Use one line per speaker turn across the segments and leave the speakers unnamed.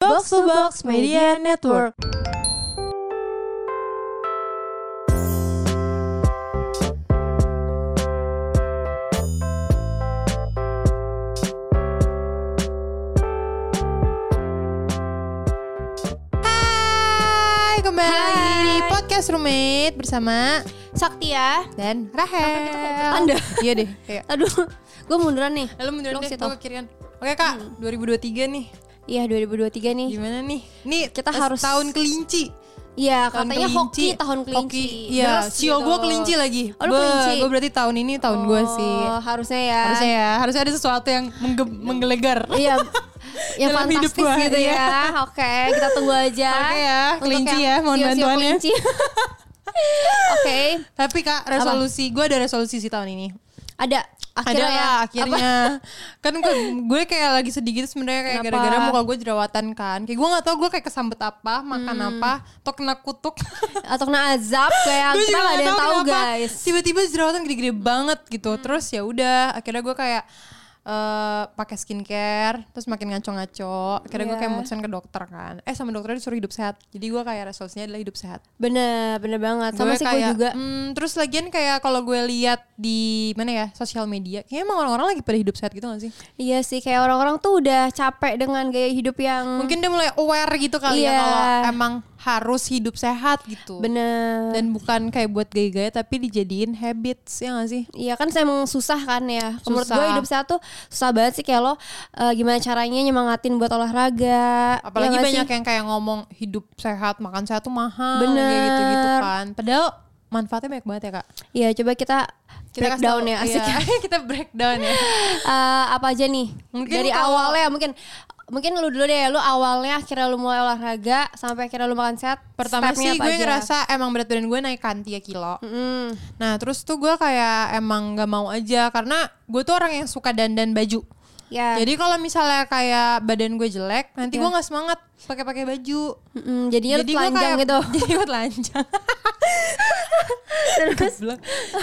Box to Box Media Network.
Hai, kembali
Hai.
di podcast roommate bersama
Sakti ya.
dan Rahel.
Anda.
Iya deh. Kayak.
Aduh, gue munduran nih.
Lalu mundur
Dong,
deh,
situ.
gue ke kirian. Oke kak, 2023 nih.
Iya 2023 nih.
Gimana nih? Nih
Kita
pas
harus-
tahun kelinci.
Iya
Tahun
katanya hoki tahun kelinci.
Hoki. Iya,
Terus
sio
gitu.
gue kelinci lagi.
Oh, lu kelinci.
Gue berarti tahun ini tahun gue sih.
Oh, Harusnya ya.
Harusnya ya, harusnya ada sesuatu yang mengge- menggelegar.
Iya. yang
Dalam hidup
fantastis
gua,
gitu
iya.
ya. Oke, kita tunggu aja.
Oke ya,
Untuk
kelinci
yang
ya, mohon
sio-sio
bantuannya.
kelinci. Oke,
Tapi kak, resolusi gue ada resolusi sih tahun ini.
ada akhirnya
ada
ya.
lah, akhirnya kan gue, gue kayak lagi sedih gitu sebenarnya kayak
Kenapa?
gara-gara muka gue jerawatan kan kayak gue nggak tau gue kayak kesambet apa makan
Hmm.
apa atau kena kutuk
Apa? Atau kena azab kayak
Gue
kita
juga
nggak ada yang
nggak
tahu
tahu kenapa.
guys.
tiba-tiba jerawatan gede-gede banget gitu terus ya udah akhirnya gue kayak eh pakai skincare terus makin ngaco-ngaco akhirnya gue
Iya.
kayak mutusin ke dokter kan eh sama dokternya disuruh hidup sehat jadi gue kayak resolusinya adalah hidup sehat
Bener, bener banget. Sama
Gue
sih gue
kayak,
juga.
hmm, terus lagian kayak kalau gue lihat di mana ya sosial media kayaknya emang orang-orang lagi pada hidup sehat gitu gak sih
Iya sih, kayak orang-orang tuh udah capek dengan gaya hidup yang
mungkin dia mulai aware gitu kali
Iya.
ya kalau emang harus hidup sehat gitu
bener.
dan bukan kayak buat gaya-gaya tapi dijadiin habits ya gak sih
Iya kan saya emang susah kan ya. Menurut gue
Susah.
hidup sehat tuh susah banget sih kayak lo eh, gimana caranya nyemangatin buat olahraga.
apalagi
Ya nggak
banyak
sih?
yang kayak ngomong hidup sehat makan sehat tuh mahal
Bener.
kayak gitu-gitu kan padahal manfaatnya banyak banget ya kak
Iya coba kita,
kasih
breakdown
tahu,
ya asik.
iya. kita breakdown ya
Eh, apa aja nih?
Mungkin
Dari
kalau-
awalnya mungkin mungkin lu dulu deh, lu awalnya akhirnya lu mulai olahraga sampai akhirnya lu makan sehat.
pertama sih
stepnya apa
gue
aja?
ngerasa emang berat badan gue naikkan 3 kilo
Mm,
nah terus tuh gue kayak emang gak mau aja karena gue tuh orang yang suka dandan baju
ya.
Jadi kalau misalnya kayak badan gue jelek, nanti
Iya.
gue nggak semangat pakai-pakai baju.
Mm, jadinya lu
Jadi gue
telanjang
kayak-
gitu.
Jadi gue telanjang. Keblek.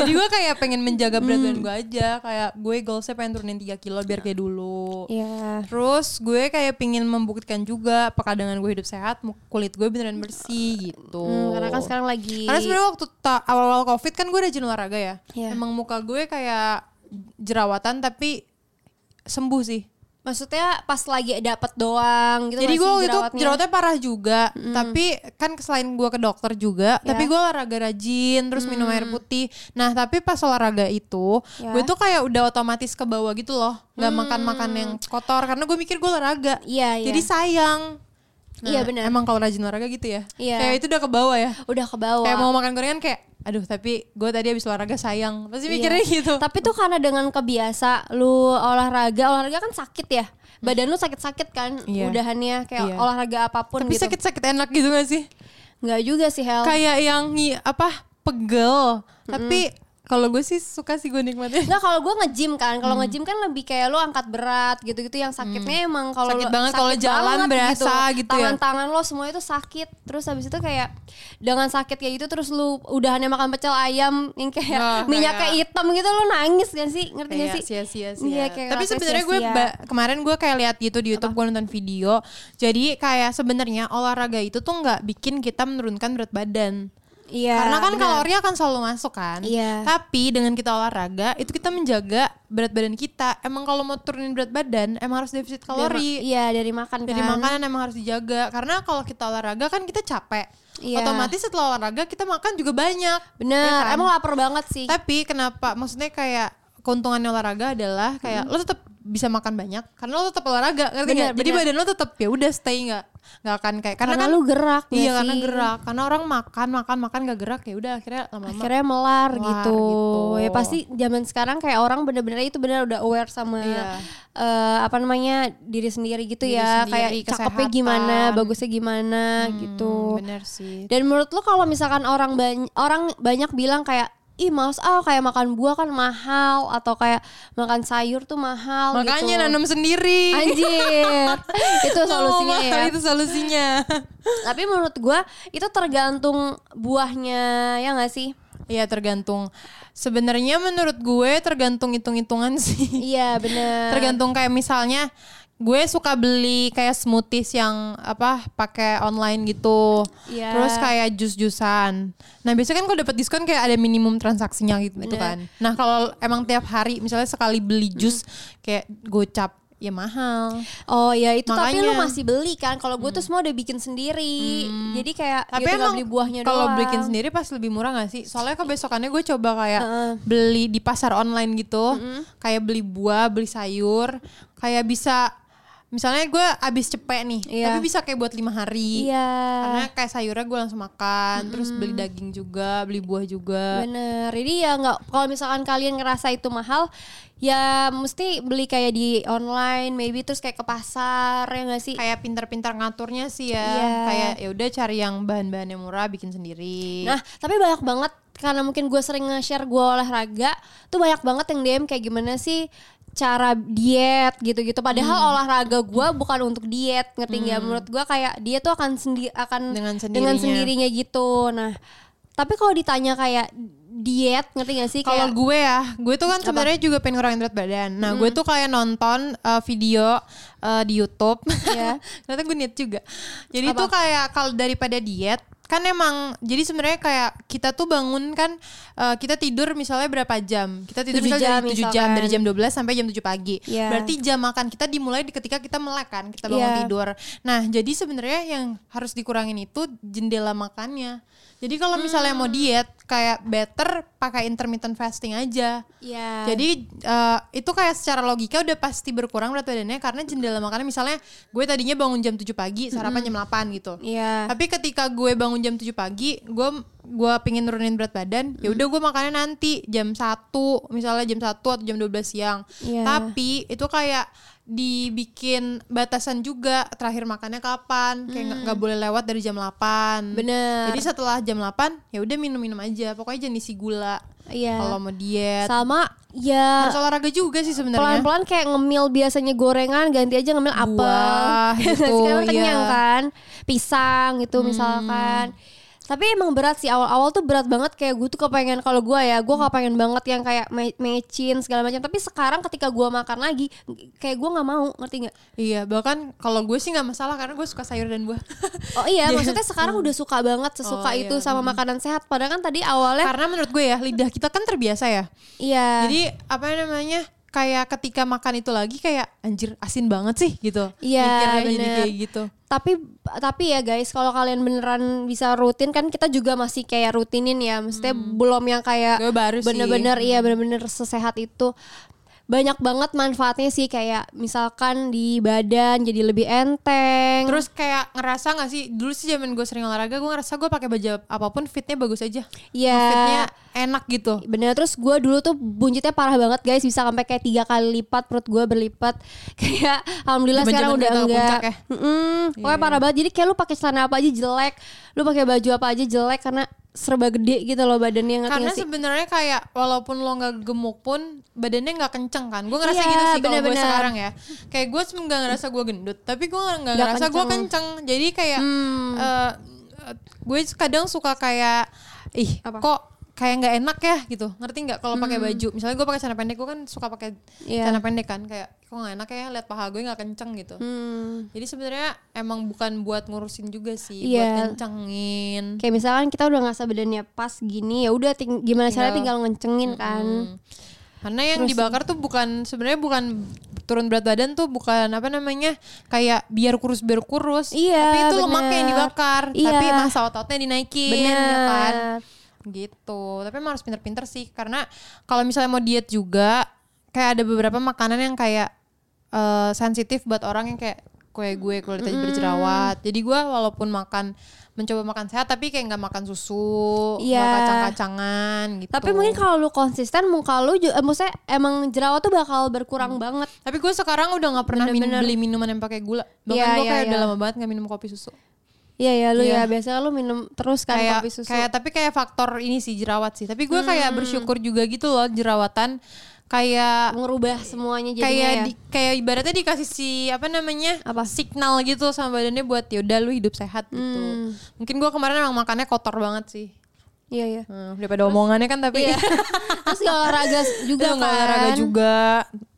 Jadi gue kayak pengen menjaga berat
Hmm.
badan gue aja. Kayak gue goalsnya pengen turunin 3 kilo biar kayak dulu.
Iya.
Terus gue kayak pengen membuktikan juga apakah dengan gue hidup sehat mu- kulit gue beneran bersih gitu.
Mm, karena kan sekarang lagi
Karena sebenarnya waktu ta- awal-awal covid kan gue rajin olahraga ya.
Iya.
Emang muka gue kayak jerawatan tapi sembuh sih.
maksudnya pas lagi dapet doang gitu
Jadi
nggak
gue
sih
waktu itu
jerawatnya?
jerawatnya parah juga, tapi kan selain gue ke dokter juga,
Ya.
tapi gue olahraga rajin, terus minum air
Mm.
putih. Nah tapi pas olahraga itu,
Ya.
gue tuh kayak udah otomatis ke bawah gitu loh, nggak makan makan yang kotor karena gue mikir gue olahraga.
Iya, Mm. iya.
Jadi sayang. Nah,
Iya, benar.
Emang kalau rajin olahraga gitu ya,
Iya.
kayak itu udah ke bawah ya.
udah ke bawah.
Kayak mau makan gorengan kayak, aduh tapi gue tadi habis olahraga sayang, pasti
Iya.
mikirnya gitu.
Tapi tuh karena dengan kebiasa lu olahraga, olahraga kan sakit ya. Badan lu sakit-sakit kan
Iya.
udahannya kayak
Iya.
olahraga apapun
tapi
gitu.
sakit-sakit enak gitu gak sih?
Nggak juga sih Hel.
kayak yang ngi- apa pegel tapi kalau gue sih suka sih gue nikmatin
Nggak kalau gue nge-gym kan, kalau
Hmm.
nge-gym kan lebih kayak lu angkat berat gitu-gitu yang sakitnya emang kalau
Sakit
lu-
banget, kalau jalan
banget
berasa gitu ya.
Tangan-tangan lo semua itu sakit. Terus habis itu kayak dengan sakit kayak gitu terus lu udahannya makan pecel ayam yang kayak
Wah,
minyaknya
Nah, kayak-
hitam gitu lu nangis kan sih? Ngerti gak sih?
kayak Iya, sia-sia sia.
Iya, kayak
tapi
ngerasa
sebenarnya gue
sia-sia.
ba- kemarin gue kayak lihat gitu di YouTube gue nonton video jadi kayak sebenarnya olahraga itu tuh nggak bikin kita menurunkan berat badan
Iya.
Karena kan
benar.
kalori akan selalu masuk kan.
Iya.
Tapi dengan kita olahraga itu kita menjaga berat badan kita. Emang kalau mau turunin berat badan emang harus defisit
Dari ma-
kalori.
Iya, dari makan
Jadi
kan.
makanan emang harus dijaga karena kalau kita olahraga kan kita capek.
Iya.
Otomatis setelah olahraga kita makan juga banyak.
Bener,
ya kan?
emang lapar banget sih.
Tapi kenapa maksudnya kayak keuntungan olahraga adalah kayak lo tetap bisa makan banyak karena lo tetap olahraga ngerti
Hmm. Bener,
nggak? Jadi
bener.
badan lo tetap ya udah stay nggak nggak akan kayak karena,
karena,
kan
lu gerak ya
iya karena
sih?
gerak karena orang makan makan makan nggak gerak ya udah akhirnya lama-lama
Akhirnya melar,
Melar
gitu.
gitu.
Ya pasti zaman sekarang kayak orang bener-bener itu bener udah aware sama
Iya.
eh, apa namanya diri sendiri gitu
Diri
ya.
sendiri,
kayak cakepnya
kesehatan. Hmm,
gimana, bagusnya gimana gitu.
bener sih
Dan menurut lu kalau misalkan orang banyak orang banyak bilang kayak ih males ah kayak makan buah kan mahal atau kayak makan sayur tuh mahal
makanya
gitu.
nanam sendiri
Anjir. itu solusinya
Ngomong,
ya.
itu solusinya
Tapi menurut gua itu tergantung buahnya ya nggak sih?
Iya tergantung sebenarnya menurut gue tergantung hitung-hitungan sih
Iya bener.
tergantung kayak misalnya gue suka beli kayak smoothies yang apa pakai online gitu.
Iya.
Terus kayak jus-jusan. Nah, biasanya kan kalau dapat diskon kayak ada minimum transaksinya gitu, gitu
Bener.
kan. Nah, kalau emang tiap hari misalnya sekali beli jus kayak gocap ya mahal.
Oh ya itu tapi
Makanya.
lu
Hmm.
masih beli kan? Kalau gue tuh semua udah bikin sendiri. Jadi kayak
Tapi
ya tinggal
emang
beli buahnya
kalau
doang.
bikin sendiri pas lebih murah gak sih? Soalnya kebesokannya gue coba kayak
Heeh.
beli di pasar online gitu, kayak beli buah, beli sayur, kayak bisa misalnya gue abis cepet nih,
Iya.
tapi bisa kayak buat lima hari.
Iya.
Karena kayak sayurnya gue langsung makan, terus beli daging juga, beli buah juga.
Bener. Jadi ya nggak kalau misalkan kalian ngerasa itu mahal, ya mesti beli kayak di online, maybe terus kayak ke pasar ya nggak sih?
Kayak pintar-pintar ngaturnya sih ya.
Iya.
Kayak ya udah cari yang bahan-bahan yang murah, bikin sendiri.
Nah, tapi banyak banget karena mungkin gue sering nge-share gue olahraga, tuh banyak banget yang DM kayak gimana sih cara diet gitu-gitu. Padahal
Hmm.
olahraga gue bukan untuk diet, ngerti nggak? Menurut gue kayak dia tuh akan sendi akan
Dengan sendirinya.
dengan sendirinya gitu. Nah, tapi kalau ditanya kayak diet, ngerti gak sih?
Kalau
Kayak- Hmm.
gue ya, gue tuh kan sebenarnya juga pengen ngurangin berat badan. Nah, gue tuh kayak nonton uh, video uh, di YouTube.
Iya.
Ternyata gue niat juga. Jadi
Apa?
tuh kayak kalau daripada diet kan emang jadi sebenarnya kayak kita tuh bangun kan uh, kita tidur misalnya berapa jam kita tidur
Tujuh
misalnya
jam
dari 7 jam
misalkan.
dari jam 12 sampai jam 7 pagi
Iya.
berarti jam makan kita dimulai di ketika kita melek kan kita bangun
Iya.
tidur nah jadi sebenarnya yang harus dikurangin itu jendela makannya jadi kalau misalnya
Hmm.
mau diet kayak better pakai intermittent fasting aja
Iya.
jadi eh, itu kayak secara logika udah pasti berkurang berat badannya karena jendela makannya misalnya gue tadinya bangun jam 7 pagi, sarapan jam 8 gitu.
Iya.
Tapi ketika gue bangun jam 7 pagi, gue gue pingin nurunin berat badan, ya udah gue makannya nanti jam 1, misalnya jam 1 atau jam 12 siang.
Iya.
Tapi itu kayak dibikin batasan juga terakhir makannya kapan, kayak nggak nggak boleh lewat dari jam 8.
Hmm. Bener.
Jadi setelah jam 8 ya udah minum-minum aja, pokoknya jangan isi gula.
Iya.
Kalau mau diet
sama ya
harus olahraga juga sih sebenarnya.
pelan-pelan kayak ngemil biasanya gorengan ganti aja ngemil apel
gitu,
sekarang
iya. Hmm.
kenyang kan pisang gitu misalkan tapi emang berat sih awal-awal tuh berat banget kayak gue tuh kepengen kalau gue ya gue kepengen banget yang kayak me- mecin segala macam tapi sekarang ketika gue makan lagi kayak gue nggak mau ngerti nggak
Iya, bahkan kalau gue sih nggak masalah karena gue suka sayur dan buah.
oh iya maksudnya sekarang udah suka banget sesuka
Oh, iya,
itu sama makanan sehat padahal kan tadi awalnya
karena menurut gue ya lidah kita kan terbiasa ya.
iya
Jadi apa namanya? Kayak ketika makan itu lagi kayak anjir asin banget sih gitu.
Iya,
Mikirnya jadi
bener.
kayak gitu.
tapi tapi ya guys kalau kalian beneran bisa rutin kan kita juga masih kayak rutinin ya maksudnya belum yang kayak
Gue Hmm. baru sih. Hmm.
bener-bener iya bener-bener sesehat itu banyak banget manfaatnya sih kayak misalkan di badan jadi lebih enteng
Terus kayak ngerasa gak sih dulu sih zaman gue sering olahraga gue ngerasa gue pakai baju apapun fitnya bagus aja. Fitnya
ya
enak gitu.
bener terus gue dulu tuh buncitnya parah banget guys bisa sampai kayak tiga kali lipat perut gue berlipat kayak alhamdulillah sekarang
Zaman-zaman kita
udah
ke
enggak
puncak ya.
Mm-mm, pokoknya parah banget jadi kayak lu pakai celana apa aja jelek lu pakai baju apa aja jelek karena serba gede gitu loh badannya ngerti
Karena
nggak sih?
sebenarnya kayak walaupun lo nggak gemuk pun badannya nggak kenceng kan. Gue ngerasa
Iya,
gitu sih kalau gue
bener-bener.
sekarang ya. Kayak gue sem- nggak ngerasa gue gendut, tapi gue nggak
Nggak
ngerasa gue
kenceng. Hmm.
kenceng. Jadi kayak eh, eh, gue kadang suka kayak ih
Apa? Hmm.
kok kayak nggak enak ya gitu. Ngerti nggak kalau pakai baju? Misalnya gue pakai celana pendek, gue kan suka pakai
Iya.
celana pendek kan. Kayak kok nggak enak ya lihat paha gue nggak kenceng gitu.
Hmm.
Jadi sebenarnya emang bukan buat ngurusin juga sih, buat
Iya.
kencengin.
Kayak misalkan kita udah ngerasa badannya pas gini ya udah ting- gimana
Iya.
caranya tinggal ngencengin kan.
Hmm. Karena yang dibakar tuh bukan sebenarnya bukan turun berat badan tuh bukan apa namanya kayak biar kurus biar kurus.
Iya,
Tapi itu
bener.
lemaknya yang dibakar.
Iya.
Tapi masa ototnya dinaikin, ya kan?
Bener.
Gitu. Tapi emang harus pinter-pinter sih karena kalau misalnya mau diet juga kayak ada beberapa makanan yang kayak eh, sensitif buat orang yang kayak kue gue kulit berjerawat. Jadi gue walaupun makan mencoba makan sehat tapi kayak nggak makan susu, nggak
Iya.
kacang-kacangan gitu.
Tapi mungkin kalau lu konsisten muka lu juga, eh, maksudnya emang jerawat tuh bakal berkurang
Hmm.
banget.
Tapi gue sekarang udah nggak pernah min-
Bener-bener.
beli minuman yang pakai gula. Bahkan
Iya,
gue
iya,
kayak
iya.
udah lama banget nggak minum kopi susu.
Iya ya lu
Iya.
ya biasanya lu minum terus kan
kayak
kopi susu.
kayak tapi kayak faktor ini sih jerawat sih. Tapi gue kayak bersyukur juga gitu loh jerawatan kayak
Ngerubah semuanya jadinya
kayak
ya.
di, kayak ibaratnya dikasih si apa namanya
Apa?
signal gitu sama badannya buat yaudah lu hidup sehat gitu.
Hmm.
Mungkin gue kemarin emang makannya kotor banget sih.
Iya iya.
Hmm, daripada omongannya kan tapi
Iya. terus gak olahraga juga
Udah
kan.
nggak olahraga juga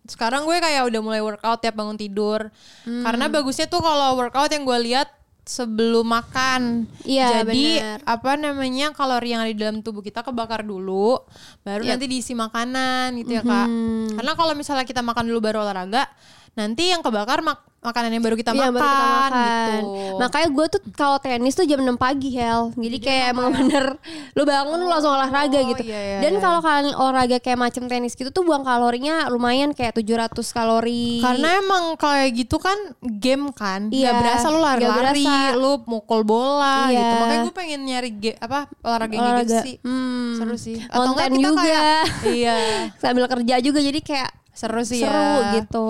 sekarang gue kayak udah mulai workout tiap bangun tidur
Hmm.
karena bagusnya tuh kalau workout yang gue lihat sebelum makan
Iya,
jadi
benar.
apa namanya kalori yang ada di dalam tubuh kita kebakar dulu
Iya.
baru nanti diisi makanan gitu ya kak
Hmm.
karena kalau misalnya kita makan dulu baru olahraga nanti yang kebakar mak- makanan yang baru kita,
Iya,
makan,
baru kita makan.
gitu
Makanya gue tuh kalau tenis tuh jam 6 pagi Hel. Jadi kayak emang bener lu bangun lu langsung olahraga
Oh,
gitu.
iya, iya,
Dan
iya.
kalau kalian olahraga kayak macam tenis gitu tuh buang kalorinya lumayan kayak 700 kalori.
Karena emang kayak gitu kan game kan,
Iya,
gak berasa lu
gak
lari-lari,
berasa.
lu mukul bola
Iya.
gitu. Makanya gue pengen nyari ge- apa olahraga, yang kayak gitu
Olahraga.
sih.
Hmm.
Seru sih.
Konten
enggak
juga.
kayak iya,
sambil kerja juga jadi kayak
seru sih
seru
ya.
gitu.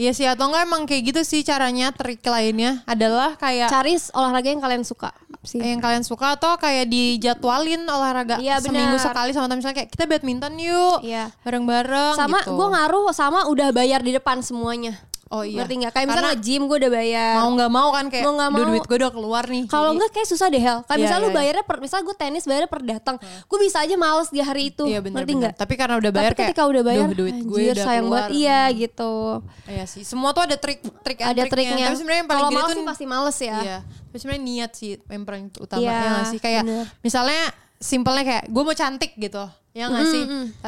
Iya sih atau enggak emang kayak gitu sih caranya trik lainnya adalah kayak
Cari olahraga yang kalian suka sih.
yang kalian suka atau kayak dijadwalin olahraga
Iya,
seminggu
benar.
sekali sama teman misalnya kayak kita badminton yuk
Iya.
bareng-bareng
sama
gitu.
gue ngaruh sama udah bayar di depan semuanya.
oh iya
Ngerti nggak? Kayak
Karena
misalnya nge-gym gue udah bayar.
mau nggak mau kan kayak
Mau nggak
"Duh,
mau.
duit gue udah keluar nih
Kalau
jadi-
enggak kayak susah deh Hel. Kayak
Iya,
misalnya
iya,
lu
iya.
bayarnya per misalnya gue tenis bayarnya per datang. Gue bisa aja males di hari itu.
Iya bener
gitu. Ngerti
bener.
enggak?
Tapi karena udah
Tapi
bayar kayak
ketika udah bayar
"Duh, duit gue
anjir,
udah
sayang
keluar.
banget iya gitu.
Iya sih. Semua tuh ada trik trik and
Ada
triknya.
triknya.
Tapi sebenarnya yang paling
Kalau
gede
males
tuh
sih pasti males ya.
Iya. Tapi sebenarnya niat sih yang paling utama
Iya,
ya nggak sih kayak
bener.
misalnya simpelnya kayak gue mau cantik gitu. Ya nggak sih?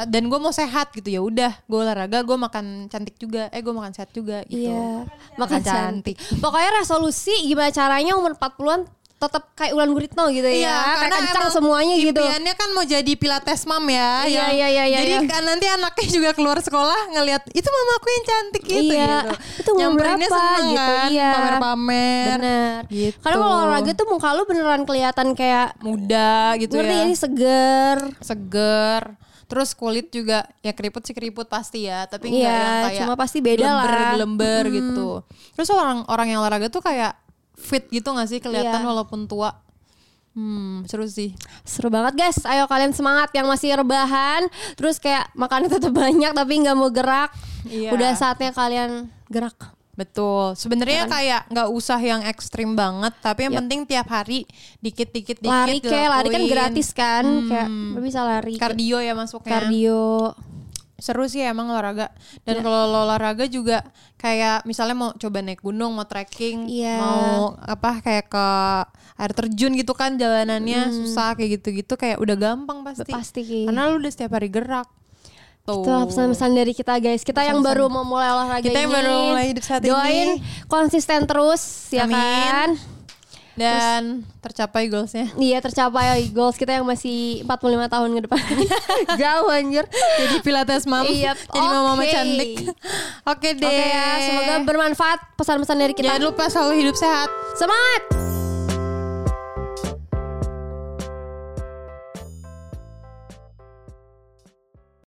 Dan gue mau sehat gitu ya udah, gue olahraga, gue makan cantik juga. Eh gue makan sehat juga gitu.
Iya. Makan cantik. Pokoknya resolusi gimana caranya umur 40-an tetap kayak Ulan Guritno gitu ya. kayak kencang
Iya, emang
semuanya gitu.
Impiannya kan mau jadi pilates mam ya.
Iya,
yang-
iya, iya, iya,
Jadi
iya.
kan nanti anaknya juga keluar sekolah ngelihat itu mama aku yang cantik gitu
Iya,
gitu.
itu umur
Nyamperinnya
berapa
seneng
gitu,
kan,
iya.
pamer-pamer.
Bener.
Gitu.
Karena kalau olahraga tuh muka lu beneran kelihatan kayak
muda gitu
ngerti
ya.
ini seger.
Seger. Terus kulit juga ya keriput sih keriput pasti ya, tapi enggak
Iya,
yang kayak
cuma pasti beda lah.
lember-lember gitu. Terus orang-orang yang olahraga tuh kayak fit gitu gak sih kelihatan
Iya.
walaupun tua. Hmm, seru sih.
Seru banget guys. Ayo kalian semangat yang masih rebahan, terus kayak makannya tetap banyak tapi nggak mau gerak.
Iya.
Udah saatnya kalian gerak.
Betul. Sebenarnya kayak nggak usah yang ekstrim banget, tapi yang
kan? Yap.
penting tiap hari dikit-dikit dikit
lari kayak lari kan
dilakuin. Hmm.
gratis kan, kayak lu bisa lari.
Kardio ya masuknya.
Kardio. Iya.
Seru sih emang olahraga. Dan kalau lo olahraga juga kayak misalnya mau coba naik gunung, mau trekking,
Iya.
mau apa kayak ke air terjun gitu kan jalanannya susah kayak gitu-gitu kayak udah gampang pasti.
Pasti.
Karena lu udah setiap hari gerak. Tuh.
Itu pesan-pesan dari kita guys. Kita yang baru mau mulai olahraga
Kita
ini.
yang baru mulai hidup saat ini.
doain konsisten terus ya
Amin.
kan.
Dan tercapai goalsnya.
Iya tercapai goals kita yang masih 45 tahun ke depan. Jauh anjir.
jadi pilates mam
Iya,
jadi mama-mama
oke.
cantik oke deh
Oke ya, semoga bermanfaat pesan-pesan dari kita.
jangan lupa selalu hidup sehat
Semangat!